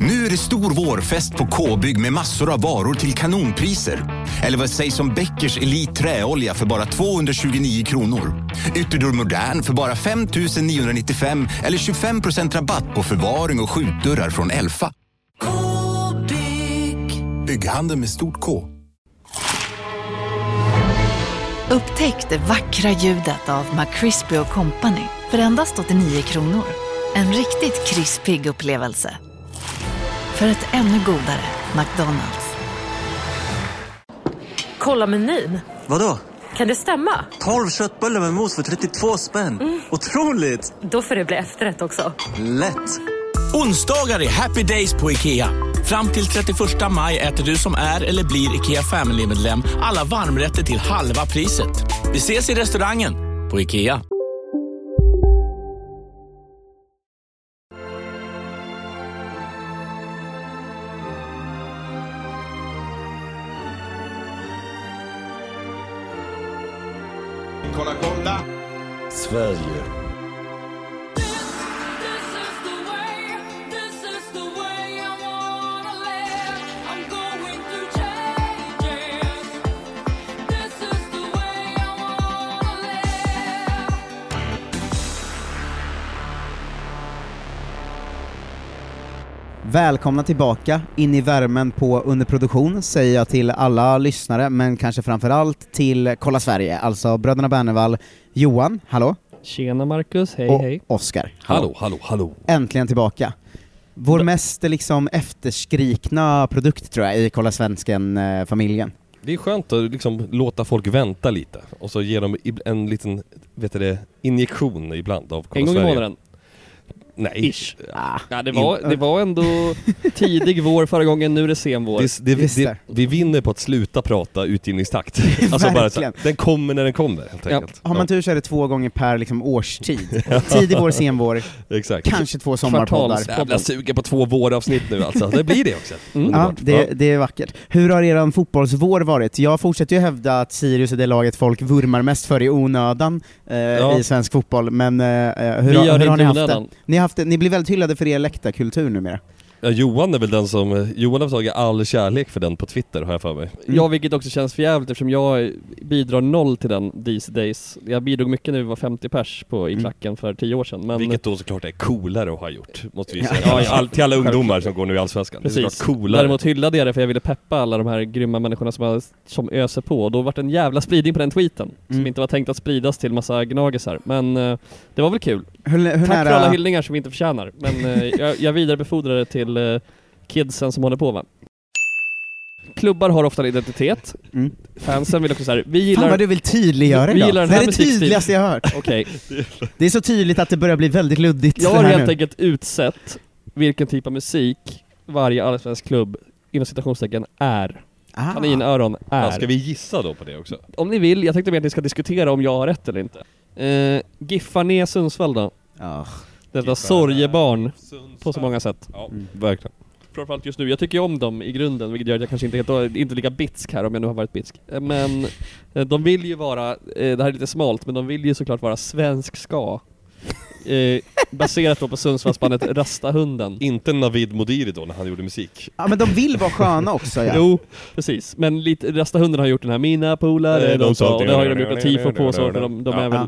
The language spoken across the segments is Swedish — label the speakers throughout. Speaker 1: Nu är det stor vårfest på K-bygg med massor av varor till kanonpriser. Eller vad sägs om Bäckers Elite Träolja för bara 229 kronor? Ytterdörr Modern för bara 5 995 eller 25 rabatt på förvaring och skjutdörrar från Elfa.
Speaker 2: K-bygg.
Speaker 1: Bygghandeln med stort K.
Speaker 3: Upptäck det vackra ljudet av McCrispy Company för endast 89 kronor. En riktigt krispig upplevelse. För ett ännu godare McDonalds.
Speaker 4: Kolla menyn.
Speaker 5: Vadå?
Speaker 4: Kan det stämma?
Speaker 5: 12 köttbullar med mos för 32 spänn. Otroligt!
Speaker 4: Då får det bli efterrätt också.
Speaker 5: Lätt!
Speaker 6: Onsdagar är happy days på IKEA. Fram till 31 maj äter du som är eller blir IKEA Family-medlem alla varmrätter till halva priset. Vi ses i restaurangen på IKEA.
Speaker 7: Kolla, kolla!
Speaker 8: Sverige.
Speaker 9: Välkomna tillbaka in i värmen på underproduktion säger jag till alla lyssnare, men kanske framförallt till Kolla Sverige, alltså bröderna Bernevall, Johan, hallå,
Speaker 10: Tjena Marcus, hej
Speaker 9: och
Speaker 10: hej.
Speaker 9: Oskar.
Speaker 8: Hallå, hallå, hallå.
Speaker 9: Äntligen tillbaka. Vår mest liksom efterskrikna produkt tror jag i Kolla Svensken-familjen.
Speaker 8: Det är skönt att liksom låta folk vänta lite och så ge dem ib- en liten, vet du det, injektion ibland av Kolla
Speaker 10: En gång i
Speaker 8: Sverige.
Speaker 10: månaden.
Speaker 8: Nej.
Speaker 10: Ish. Ja, det, var, det var ändå tidig vår förra gången, nu är det sen vår.
Speaker 8: Det, det,
Speaker 9: Just
Speaker 8: det,
Speaker 9: det.
Speaker 8: vi vinner på att sluta prata utgivningstakt. alltså bara så,
Speaker 9: Verkligen.
Speaker 8: här, den kommer när den kommer helt
Speaker 10: Ja.
Speaker 8: enkelt.
Speaker 9: Har man tur så är det två gånger per liksom, årstid. Tidig vår, sen vår,
Speaker 8: ja, exakt.
Speaker 9: kanske två sommarpoddar.
Speaker 10: Kvartals-
Speaker 8: Jävla sugen på två våravsnitt nu alltså. Det blir det också.
Speaker 10: Mm.
Speaker 9: Ja,
Speaker 8: Underbart.
Speaker 9: det, det är vackert. Hur har eran fotbollsvår varit? Jag fortsätter ju hävda att Sirius är det laget folk vurmar mest för i onödan eh,
Speaker 8: Ja.
Speaker 9: i svensk fotboll, men eh, hur,
Speaker 10: Vi gör
Speaker 9: hur
Speaker 10: det
Speaker 9: har
Speaker 10: inte
Speaker 9: ni
Speaker 10: i
Speaker 9: haft det?
Speaker 10: onödan.
Speaker 9: Ni, har haft det? ni blir väldigt hyllade för er läktarkultur numera.
Speaker 8: Ja, Johan är väl den som, Johan har tagit all kärlek för den på Twitter har jag för mig.
Speaker 10: Ja, vilket också känns för jävligt eftersom jag bidrar noll till den these days. Jag bidrog mycket när vi var 50 pers på, i klacken för 10 år sedan, men
Speaker 8: Vilket då såklart är coolare att ha gjort, måste vi
Speaker 9: Ja.
Speaker 8: säga.
Speaker 9: Ja,
Speaker 8: Till all, till alla ungdomar som går nu i Allsvenskan. Det är
Speaker 10: Precis.
Speaker 8: såklart coolare.
Speaker 10: Däremot hyllade jag det för jag ville peppa alla de här grymma människorna som, har, som öser på och då vart det en jävla spridning på den tweeten som
Speaker 9: Mm.
Speaker 10: inte var tänkt att spridas till massa gnagisar. Men eh, det var väl kul.
Speaker 9: Hur, hur
Speaker 10: Tack
Speaker 9: nära...
Speaker 10: för alla hyllningar som vi inte förtjänar. Men eh, jag, jag vidarebefordrar det till eh, kidsen som håller på va. Klubbar har ofta en identitet.
Speaker 9: Mm.
Speaker 10: Fansen vill också såhär, vi
Speaker 9: Fan
Speaker 10: gillar...
Speaker 9: vad du vill tydliggöra
Speaker 10: Vi
Speaker 9: idag.
Speaker 10: gillar den
Speaker 9: det
Speaker 10: här
Speaker 9: är det
Speaker 10: musikstilen.
Speaker 9: tydligaste jag har hört.
Speaker 10: Okej.
Speaker 9: Det är så tydligt att det börjar bli väldigt luddigt
Speaker 10: Jag
Speaker 9: det
Speaker 10: har
Speaker 9: här
Speaker 10: helt
Speaker 9: nu.
Speaker 10: enkelt utsett vilken typ av musik varje allsvensk klubb, inom citationstecken, är.
Speaker 9: Ah.
Speaker 10: Kaninöron är.
Speaker 8: Ja, ska vi gissa då på det också?
Speaker 10: Om ni vill, jag tänkte mer att ni ska diskutera om jag har rätt eller inte. Eh, Giffa ner Sundsvall då.
Speaker 9: Ja.
Speaker 10: Detta sorgebarn på så
Speaker 8: Sundsvall.
Speaker 10: många Mm, sätt.
Speaker 8: Ja, verkligen.
Speaker 10: Framförallt just nu, jag tycker ju om dem i grunden vilket gör att jag kanske inte är helt, inte lika bitsk här om jag nu har varit bitsk. Eh, Men eh, de vill ju vara, eh, det här är lite smalt, men de vill ju såklart vara svensk ska. Eh, baserat då på Sundsvallsbandet Rastahunden.
Speaker 8: Inte Navid Modiri då när han gjorde musik.
Speaker 9: ja men de vill vara sköna också ja.
Speaker 10: Jo, precis. Men lite, Rastahunden har gjort den här 'Mina polare'
Speaker 8: Eh, de sa-
Speaker 10: de sa, och det har ju de gjort en tifo på så, för de, de
Speaker 8: Ja.
Speaker 10: är väl...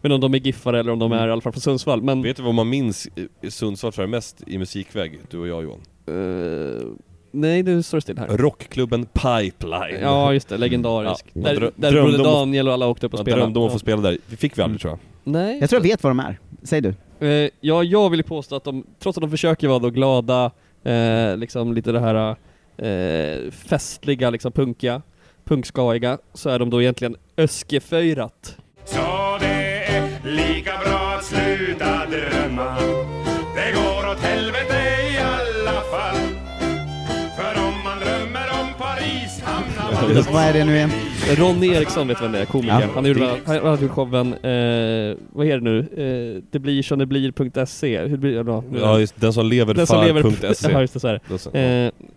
Speaker 10: Men om de är giffare eller om de är
Speaker 9: Mm.
Speaker 10: i alla fall från Sundsvall, men...
Speaker 8: Vet du vad man minns eh, Sundsvall för mest i musikväg, du och jag Johan?
Speaker 10: Eh, nej, nu står det still här.
Speaker 8: Rockklubben Pipeline.
Speaker 10: Ja, just det. Legendarisk.
Speaker 8: Ja. Man
Speaker 10: Där,
Speaker 8: drö-
Speaker 10: där
Speaker 8: drömde
Speaker 10: Broder
Speaker 8: om att-
Speaker 10: Daniel och alla åkte upp och
Speaker 8: Man
Speaker 10: spelade.
Speaker 8: drömde om att
Speaker 10: Ja.
Speaker 8: få
Speaker 10: Mm.
Speaker 8: spela där. Det fick vi aldrig tror jag.
Speaker 10: Nej.
Speaker 9: Jag tror jag vet vad de är. Säg du.
Speaker 10: Eh, ja, jag vill ju påstå att de, trots att de försöker vara då glada, eh, liksom lite det här eh, festliga, liksom punkiga, punkskaiga, så är de då egentligen öskeföjrat.
Speaker 7: Så det är lika bra att sluta drömma Det går åt helvete i alla fall För om man drömmer om Paris hamnar man...
Speaker 9: Vad är det nu igen?
Speaker 10: Ronny Eriksson vet vem det är, komikern.
Speaker 9: Ja.
Speaker 10: Han, gjorde, bland- han, han gjorde showen, eh, vad är det nu? Eh, det blir som det blir.se, hur blir det då?
Speaker 8: Ja, just den som lever
Speaker 10: Den som lever...
Speaker 8: far.se.
Speaker 10: Ja, just det, så här.
Speaker 8: E. Då så.
Speaker 10: Eh,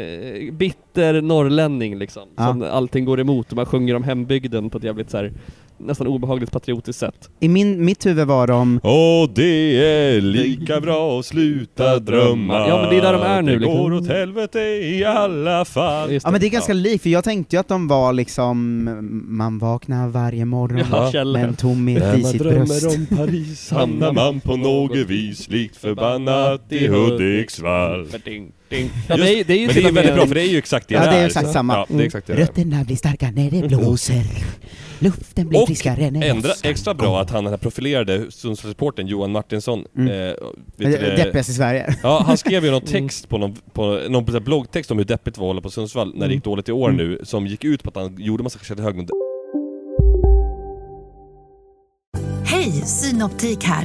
Speaker 10: eh, bitter norrlänning liksom,
Speaker 9: Ja.
Speaker 10: som allting går emot och man sjunger om hembygden på ett jävligt så här nästan obehagligt patriotiskt sätt.
Speaker 9: I min, mitt huvud var de...
Speaker 8: Och det är lika bra att sluta drömma
Speaker 10: Ja, men det är där de är nu,
Speaker 8: Det
Speaker 10: liksom.
Speaker 8: går åt helvete i alla fall
Speaker 10: Just
Speaker 9: Ja men det är ganska likt, för jag tänkte ju att de var liksom, man vaknar varje morgon
Speaker 10: Ja, Kjell.
Speaker 9: med en tomhet i sitt bröst.
Speaker 8: om Paris hamnar man på något vis likt förbannat i Hudiksvall
Speaker 10: Ding, ding. Ja, det är, det är ju
Speaker 8: Men det är
Speaker 10: till och
Speaker 8: ju
Speaker 10: med-
Speaker 8: väldigt bra för det är ju exakt det
Speaker 9: Ja, det är
Speaker 8: där,
Speaker 9: exakt
Speaker 8: så.
Speaker 9: samma.
Speaker 8: Ja, det är exakt det där.
Speaker 9: Rötterna blir starka när det blåser. Luften blir
Speaker 8: Och
Speaker 9: friskare när
Speaker 8: Ändra,
Speaker 9: mössan
Speaker 8: extra bra att han, den här profilerade Sundsvallsreportern Johan Martinsson,
Speaker 9: Mm.
Speaker 8: eh, vet du
Speaker 9: kommer.
Speaker 8: det-
Speaker 9: Deppigast i Sverige.
Speaker 8: Ja, han skrev ju någon
Speaker 10: Mm.
Speaker 8: text på någon, på någon sån här bloggtext om hur deppigt det var att hålla på Sundsvall när det gick
Speaker 10: Mm.
Speaker 8: dåligt i år nu, som gick ut på att han gjorde massa Kjell Höglund
Speaker 3: Hej, Synoptik här.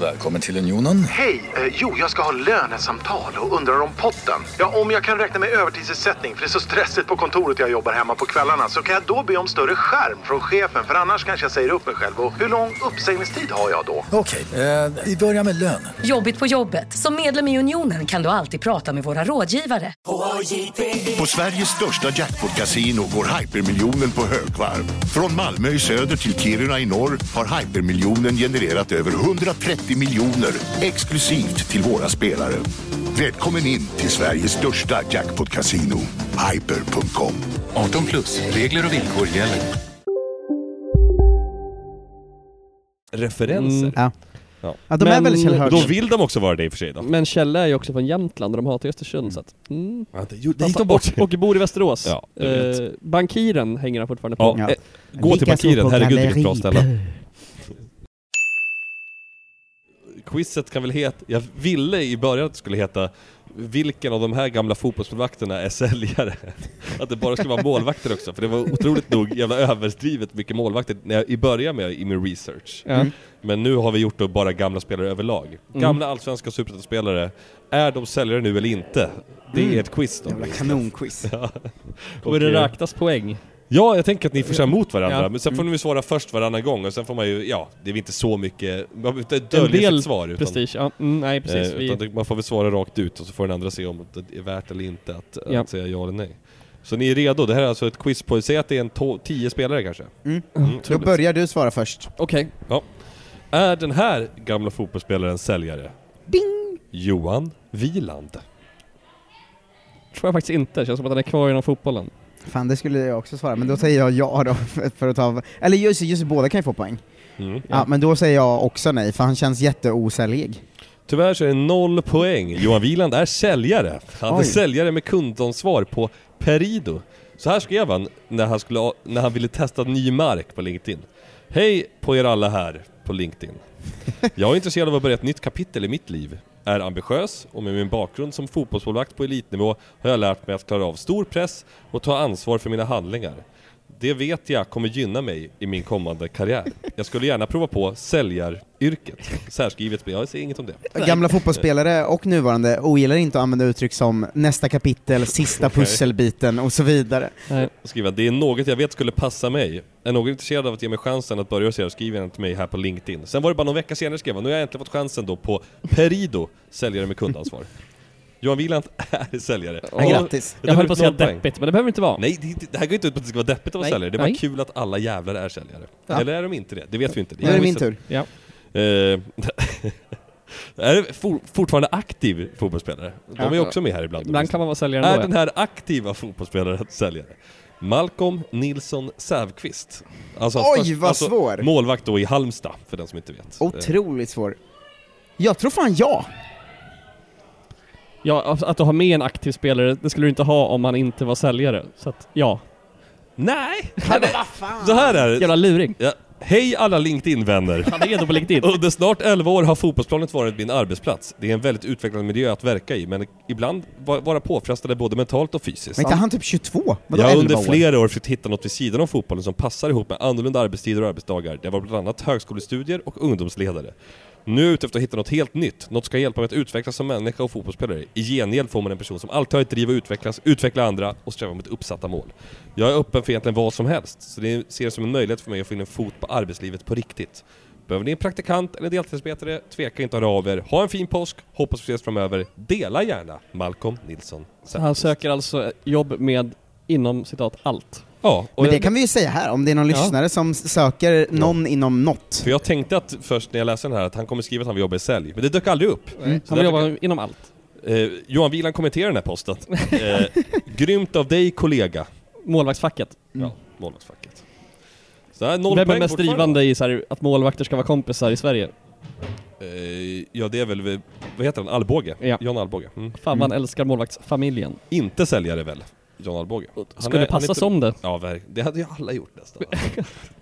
Speaker 2: Välkommen till Unionen.
Speaker 11: Hej! Eh, jo, jag ska ha lönesamtal och undrar om potten. Ja, om jag kan räkna med övertidsersättning för det är så stressigt på kontoret jag jobbar hemma på kvällarna så kan jag då be om större skärm från chefen för annars kanske jag säger upp mig själv. Och hur lång uppsägningstid har jag då?
Speaker 2: Okej, eh, vi börjar med lön.
Speaker 12: Jobbigt på jobbet. Som medlem i Unionen kan du alltid prata med våra rådgivare.
Speaker 11: På Sveriges största jackpot-casino går hypermiljonen på högvarv. Från Malmö i söder till Kiruna i norr har hypermiljonen genererat över 130 miljoner exklusivt till våra spelare. Välkommen in till Sveriges största jackpot-casino, hyper.com.
Speaker 2: 18 plus, regler och villkor gäller.
Speaker 8: referenser.
Speaker 10: Mm.
Speaker 9: Ja.
Speaker 8: Ja.
Speaker 9: Ja, de är
Speaker 10: Men
Speaker 9: väl Kjell Höglund.
Speaker 8: Då vill de också vara det i och för sig då.
Speaker 10: Men Kjell är ju också från Jämtland och de hatar ju Östersund så att... Mm.
Speaker 8: Det gick
Speaker 10: Och, och bor i Västerås.
Speaker 8: Ja, jag vet.
Speaker 10: Eh, bankiren hänger han fortfarande på.
Speaker 8: Ja,
Speaker 9: Ja.
Speaker 8: eh, gå till
Speaker 9: Vilka som
Speaker 8: Bankiren,
Speaker 9: på
Speaker 8: herregud vilket bra
Speaker 9: galleri.
Speaker 8: ställe. Quizet kan väl heta, jag ville i början att det skulle heta vilken av de här gamla fotbollsmålvakterna är säljare? Att det bara skulle vara målvakter också, för det var otroligt nog jävla överdrivet mycket målvakter när jag, i början med i min research.
Speaker 10: Ja. Mm.
Speaker 8: Men nu har vi gjort då bara gamla spelare överlag. Gamla allsvenska superettan-spelare, är de säljare nu eller inte? Det är
Speaker 10: Mm.
Speaker 8: ett quiz då.
Speaker 9: Jävla kanonquiz.
Speaker 10: Kommer
Speaker 8: Och,
Speaker 10: det
Speaker 8: eh,
Speaker 10: räknas poäng?
Speaker 8: Ja, jag tänker att ni får köra mot varandra,
Speaker 10: Ja.
Speaker 8: men sen får ni väl svara först varannan gång och sen får man ju, ja, det är väl inte så mycket, man behöver inte
Speaker 10: En
Speaker 8: dölja
Speaker 10: del
Speaker 8: sitt svar utan,
Speaker 10: prestige. Ja, mm, nej precis.
Speaker 8: eh,
Speaker 10: vi,
Speaker 8: utan det- man får väl svara rakt ut och så får den andra se om det är värt eller inte att,
Speaker 10: Ja.
Speaker 8: att säga ja eller nej. Så ni är redo? Det här är alltså ett quiz på, säg att det är en to- tio spelare kanske? Mm.
Speaker 9: Då börjar du svara först.
Speaker 10: Okej.
Speaker 8: Ja. Är den här gamla fotbollsspelaren säljare? Bing! Johan Wieland.
Speaker 10: Tror jag faktiskt inte. Känns som att han är kvar inom fotbollen.
Speaker 9: Fan, det skulle jag också svara, men då säger jag ja då, för, för att ta... Eller just, just båda kan ju få poäng.
Speaker 8: Mm.
Speaker 9: Ja, men då säger jag också nej, för han känns jätteosäljig.
Speaker 8: Tyvärr så är det noll poäng. Johan Wieland är säljare. Han är
Speaker 9: Oj.
Speaker 8: säljare med kundansvar på Perido. Så här skrev han när han, skulle, när han ville testa ny mark på LinkedIn. Hej på er alla här på LinkedIn. Jag är intresserad av att börja ett nytt kapitel i mitt liv. Är ambitiös och med min bakgrund som fotbollsmålvakt på elitnivå har jag lärt mig att klara av stor press och ta ansvar för mina handlingar. Det vet jag kommer gynna mig i min kommande karriär. Jag skulle gärna prova på säljaryrket. Särskrivet, men jag säger inget om det.
Speaker 9: Gamla fotbollsspelare och nuvarande ogillar inte att använda uttryck som nästa kapitel, sista pusselbiten och så vidare.
Speaker 8: Och skriva det är något jag vet skulle passa mig. Är någon intresserad av att ge mig chansen att börja så skriver han till mig här på LinkedIn. Sen var det bara någon vecka senare skrev han, nu har jag äntligen fått chansen då på Perido, säljare med kundansvar. Johan Wieland är säljare.
Speaker 9: Men grattis.
Speaker 8: Det
Speaker 10: Jag höll
Speaker 8: var
Speaker 10: på att säga
Speaker 8: noll poäng.
Speaker 10: deppigt, men det behöver det inte vara.
Speaker 8: Nej, det, är inte- det här går inte ut på att det ska vara deppigt att vara
Speaker 10: Nej,
Speaker 8: säljare. Det var
Speaker 10: nej.
Speaker 8: kul att alla jävlar är säljare.
Speaker 9: Ja.
Speaker 8: Eller är de inte det? Det vet vi inte.
Speaker 9: Nu är det min tur.
Speaker 10: Ja.
Speaker 8: Eh, är det for, fortfarande aktiv fotbollsspelare? De är ju
Speaker 10: Ja.
Speaker 8: också med här ibland.
Speaker 10: Ibland kan man vara säljare
Speaker 8: Är
Speaker 10: ändå.
Speaker 8: den här aktiva fotbollsspelaren säljare? Malcolm Nilsson Säfqvist. Alltså,
Speaker 9: Oj, vad svår.
Speaker 8: Målvakt då i Halmstad, för den som inte vet. Eh,
Speaker 9: Otroligt svår. Jag tror fan ja.
Speaker 10: Ja, alltså, att du har med en aktiv spelare, det skulle du inte ha om han inte var säljare. Så att, ja.
Speaker 8: Nej! Han är, så här är det.
Speaker 10: Jävla luring.
Speaker 8: Ja. Hej alla LinkedIn-vänner!
Speaker 10: Han är ändå på LinkedIn.
Speaker 8: Under snart 11 år har fotbollsplanet varit min arbetsplats. Det är en väldigt utvecklande miljö att verka i, men ibland var- vara påfrestande både mentalt och fysiskt.
Speaker 9: Men inte han typ 22? Vadå
Speaker 8: jag har under
Speaker 9: 11 år?
Speaker 8: flera år försökt hitta något vid sidan om fotbollen som passar ihop med annorlunda arbetstider och arbetsdagar. Det var bland annat högskolestudier och ungdomsledare. Nu är jag ute efter att hitta något helt nytt, något som kan hjälpa mig att utvecklas som människa och fotbollsspelare. I gengäld får man en person som alltid har ett driv att utvecklas, utveckla andra och sträva mot uppsatta mål. Jag är öppen för egentligen vad som helst, så det ser jag som en möjlighet för mig att få in en fot på arbetslivet på riktigt. Behöver ni en praktikant eller deltidsarbetare? Tveka inte att höra av er. Ha en fin påsk, hoppas vi ses framöver. Dela gärna Malcolm Nilsson.
Speaker 10: Så han söker alltså jobb med, inom citat, allt.
Speaker 8: Ja, och
Speaker 9: Men det
Speaker 8: jag-
Speaker 9: kan vi ju säga här, om det är någon
Speaker 8: Ja.
Speaker 9: lyssnare som söker någon inom något.
Speaker 8: För jag tänkte att först när jag läste den här att han kommer skriva att han vill jobba i sälj, men det dök aldrig upp.
Speaker 10: Nej. Mm. Han vill jobba inom allt.
Speaker 8: Eh, Johan Wieland kommenterar den här posten. Eh, grymt av dig kollega.
Speaker 10: Målvaktsfacket.
Speaker 8: Ja, målvaktsfacket. Så här, noll
Speaker 10: Mm. Vem är
Speaker 8: poäng
Speaker 10: mest
Speaker 8: fortfarande.
Speaker 10: drivande i så här, att målvakter ska vara kompisar i Sverige?
Speaker 8: Eh, ja det är väl, vad heter han? Allbåge? John Allbåge. Mm.
Speaker 10: Fan vad han älskar målvaktsfamiljen.
Speaker 8: Inte säljare väl? John Allbåge. Han
Speaker 10: Skulle passa som det.
Speaker 8: Ja, verk- det hade ju alla gjort nästan.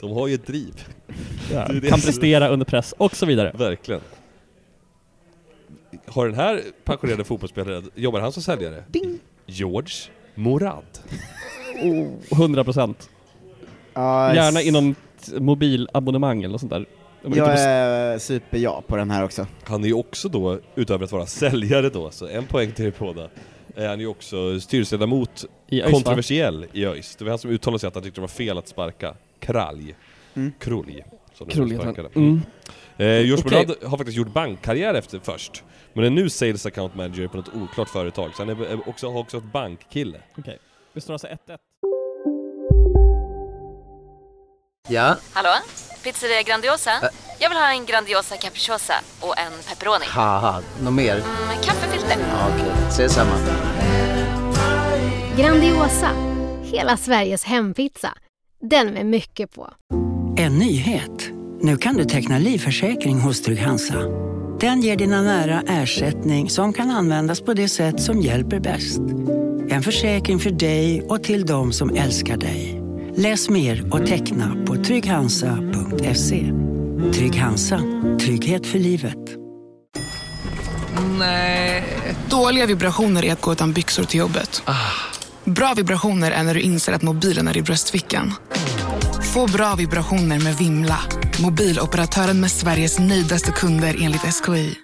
Speaker 8: De har ju ett driv. Det är ju det
Speaker 10: Kan
Speaker 8: som-
Speaker 10: prestera under press och så vidare.
Speaker 8: Verkligen. Har den här pensionerade fotbollsspelaren, jobbar han som säljare? George Morad.
Speaker 10: Oh, 100%. Gärna inom t- mobilabonnemang eller något sånt där. De är
Speaker 9: Jag
Speaker 10: ute på-
Speaker 9: är superja på den här också.
Speaker 8: Han är ju också då, utöver att vara säljare då, så en poäng till er båda, är han ju också styrelseledamot,
Speaker 10: I ÖIS, va?
Speaker 8: kontroversiell i ÖIS. Det var han som uttalade sig att han tyckte det var fel att sparka Kralj.
Speaker 10: Mm.
Speaker 8: Krulj. som de
Speaker 10: Krulj heter
Speaker 8: sparkade.
Speaker 10: han. Mm.
Speaker 8: Eh, George
Speaker 10: Okej.
Speaker 8: Morad har faktiskt gjort bankkarriär efter först, men är nu sales account manager på något oklart företag, så han är eh, också, har också ett bankkille.
Speaker 10: Okej. Det står alltså 1-1.
Speaker 13: Ja,
Speaker 14: Hallå? Pizzeria Grandiosa? Jag vill ha en Grandiosa capriciosa och en pepperoni.
Speaker 13: haha, något mer?
Speaker 14: Med kaffefilter.
Speaker 13: Ja, Okej, ses samma.
Speaker 15: Grandiosa, hela Sveriges hempizza. Den med mycket på.
Speaker 16: En nyhet. Nu kan du teckna livförsäkring hos Trygg-Hansa. Den ger dina nära ersättning som kan användas på det sätt som hjälper bäst. En försäkring för dig och till de som älskar dig. Läs mer och teckna på trygghansa.se. Trygg-Hansa. Trygghet för livet.
Speaker 17: Nej. Dåliga vibrationer är att gå utan byxor till jobbet.
Speaker 6: Ah.
Speaker 17: Bra vibrationer är när du inser att mobilen är i bröstfickan. Få bra vibrationer med Vimla. Mobiloperatören med Sveriges nöjdaste kunder enligt SKI.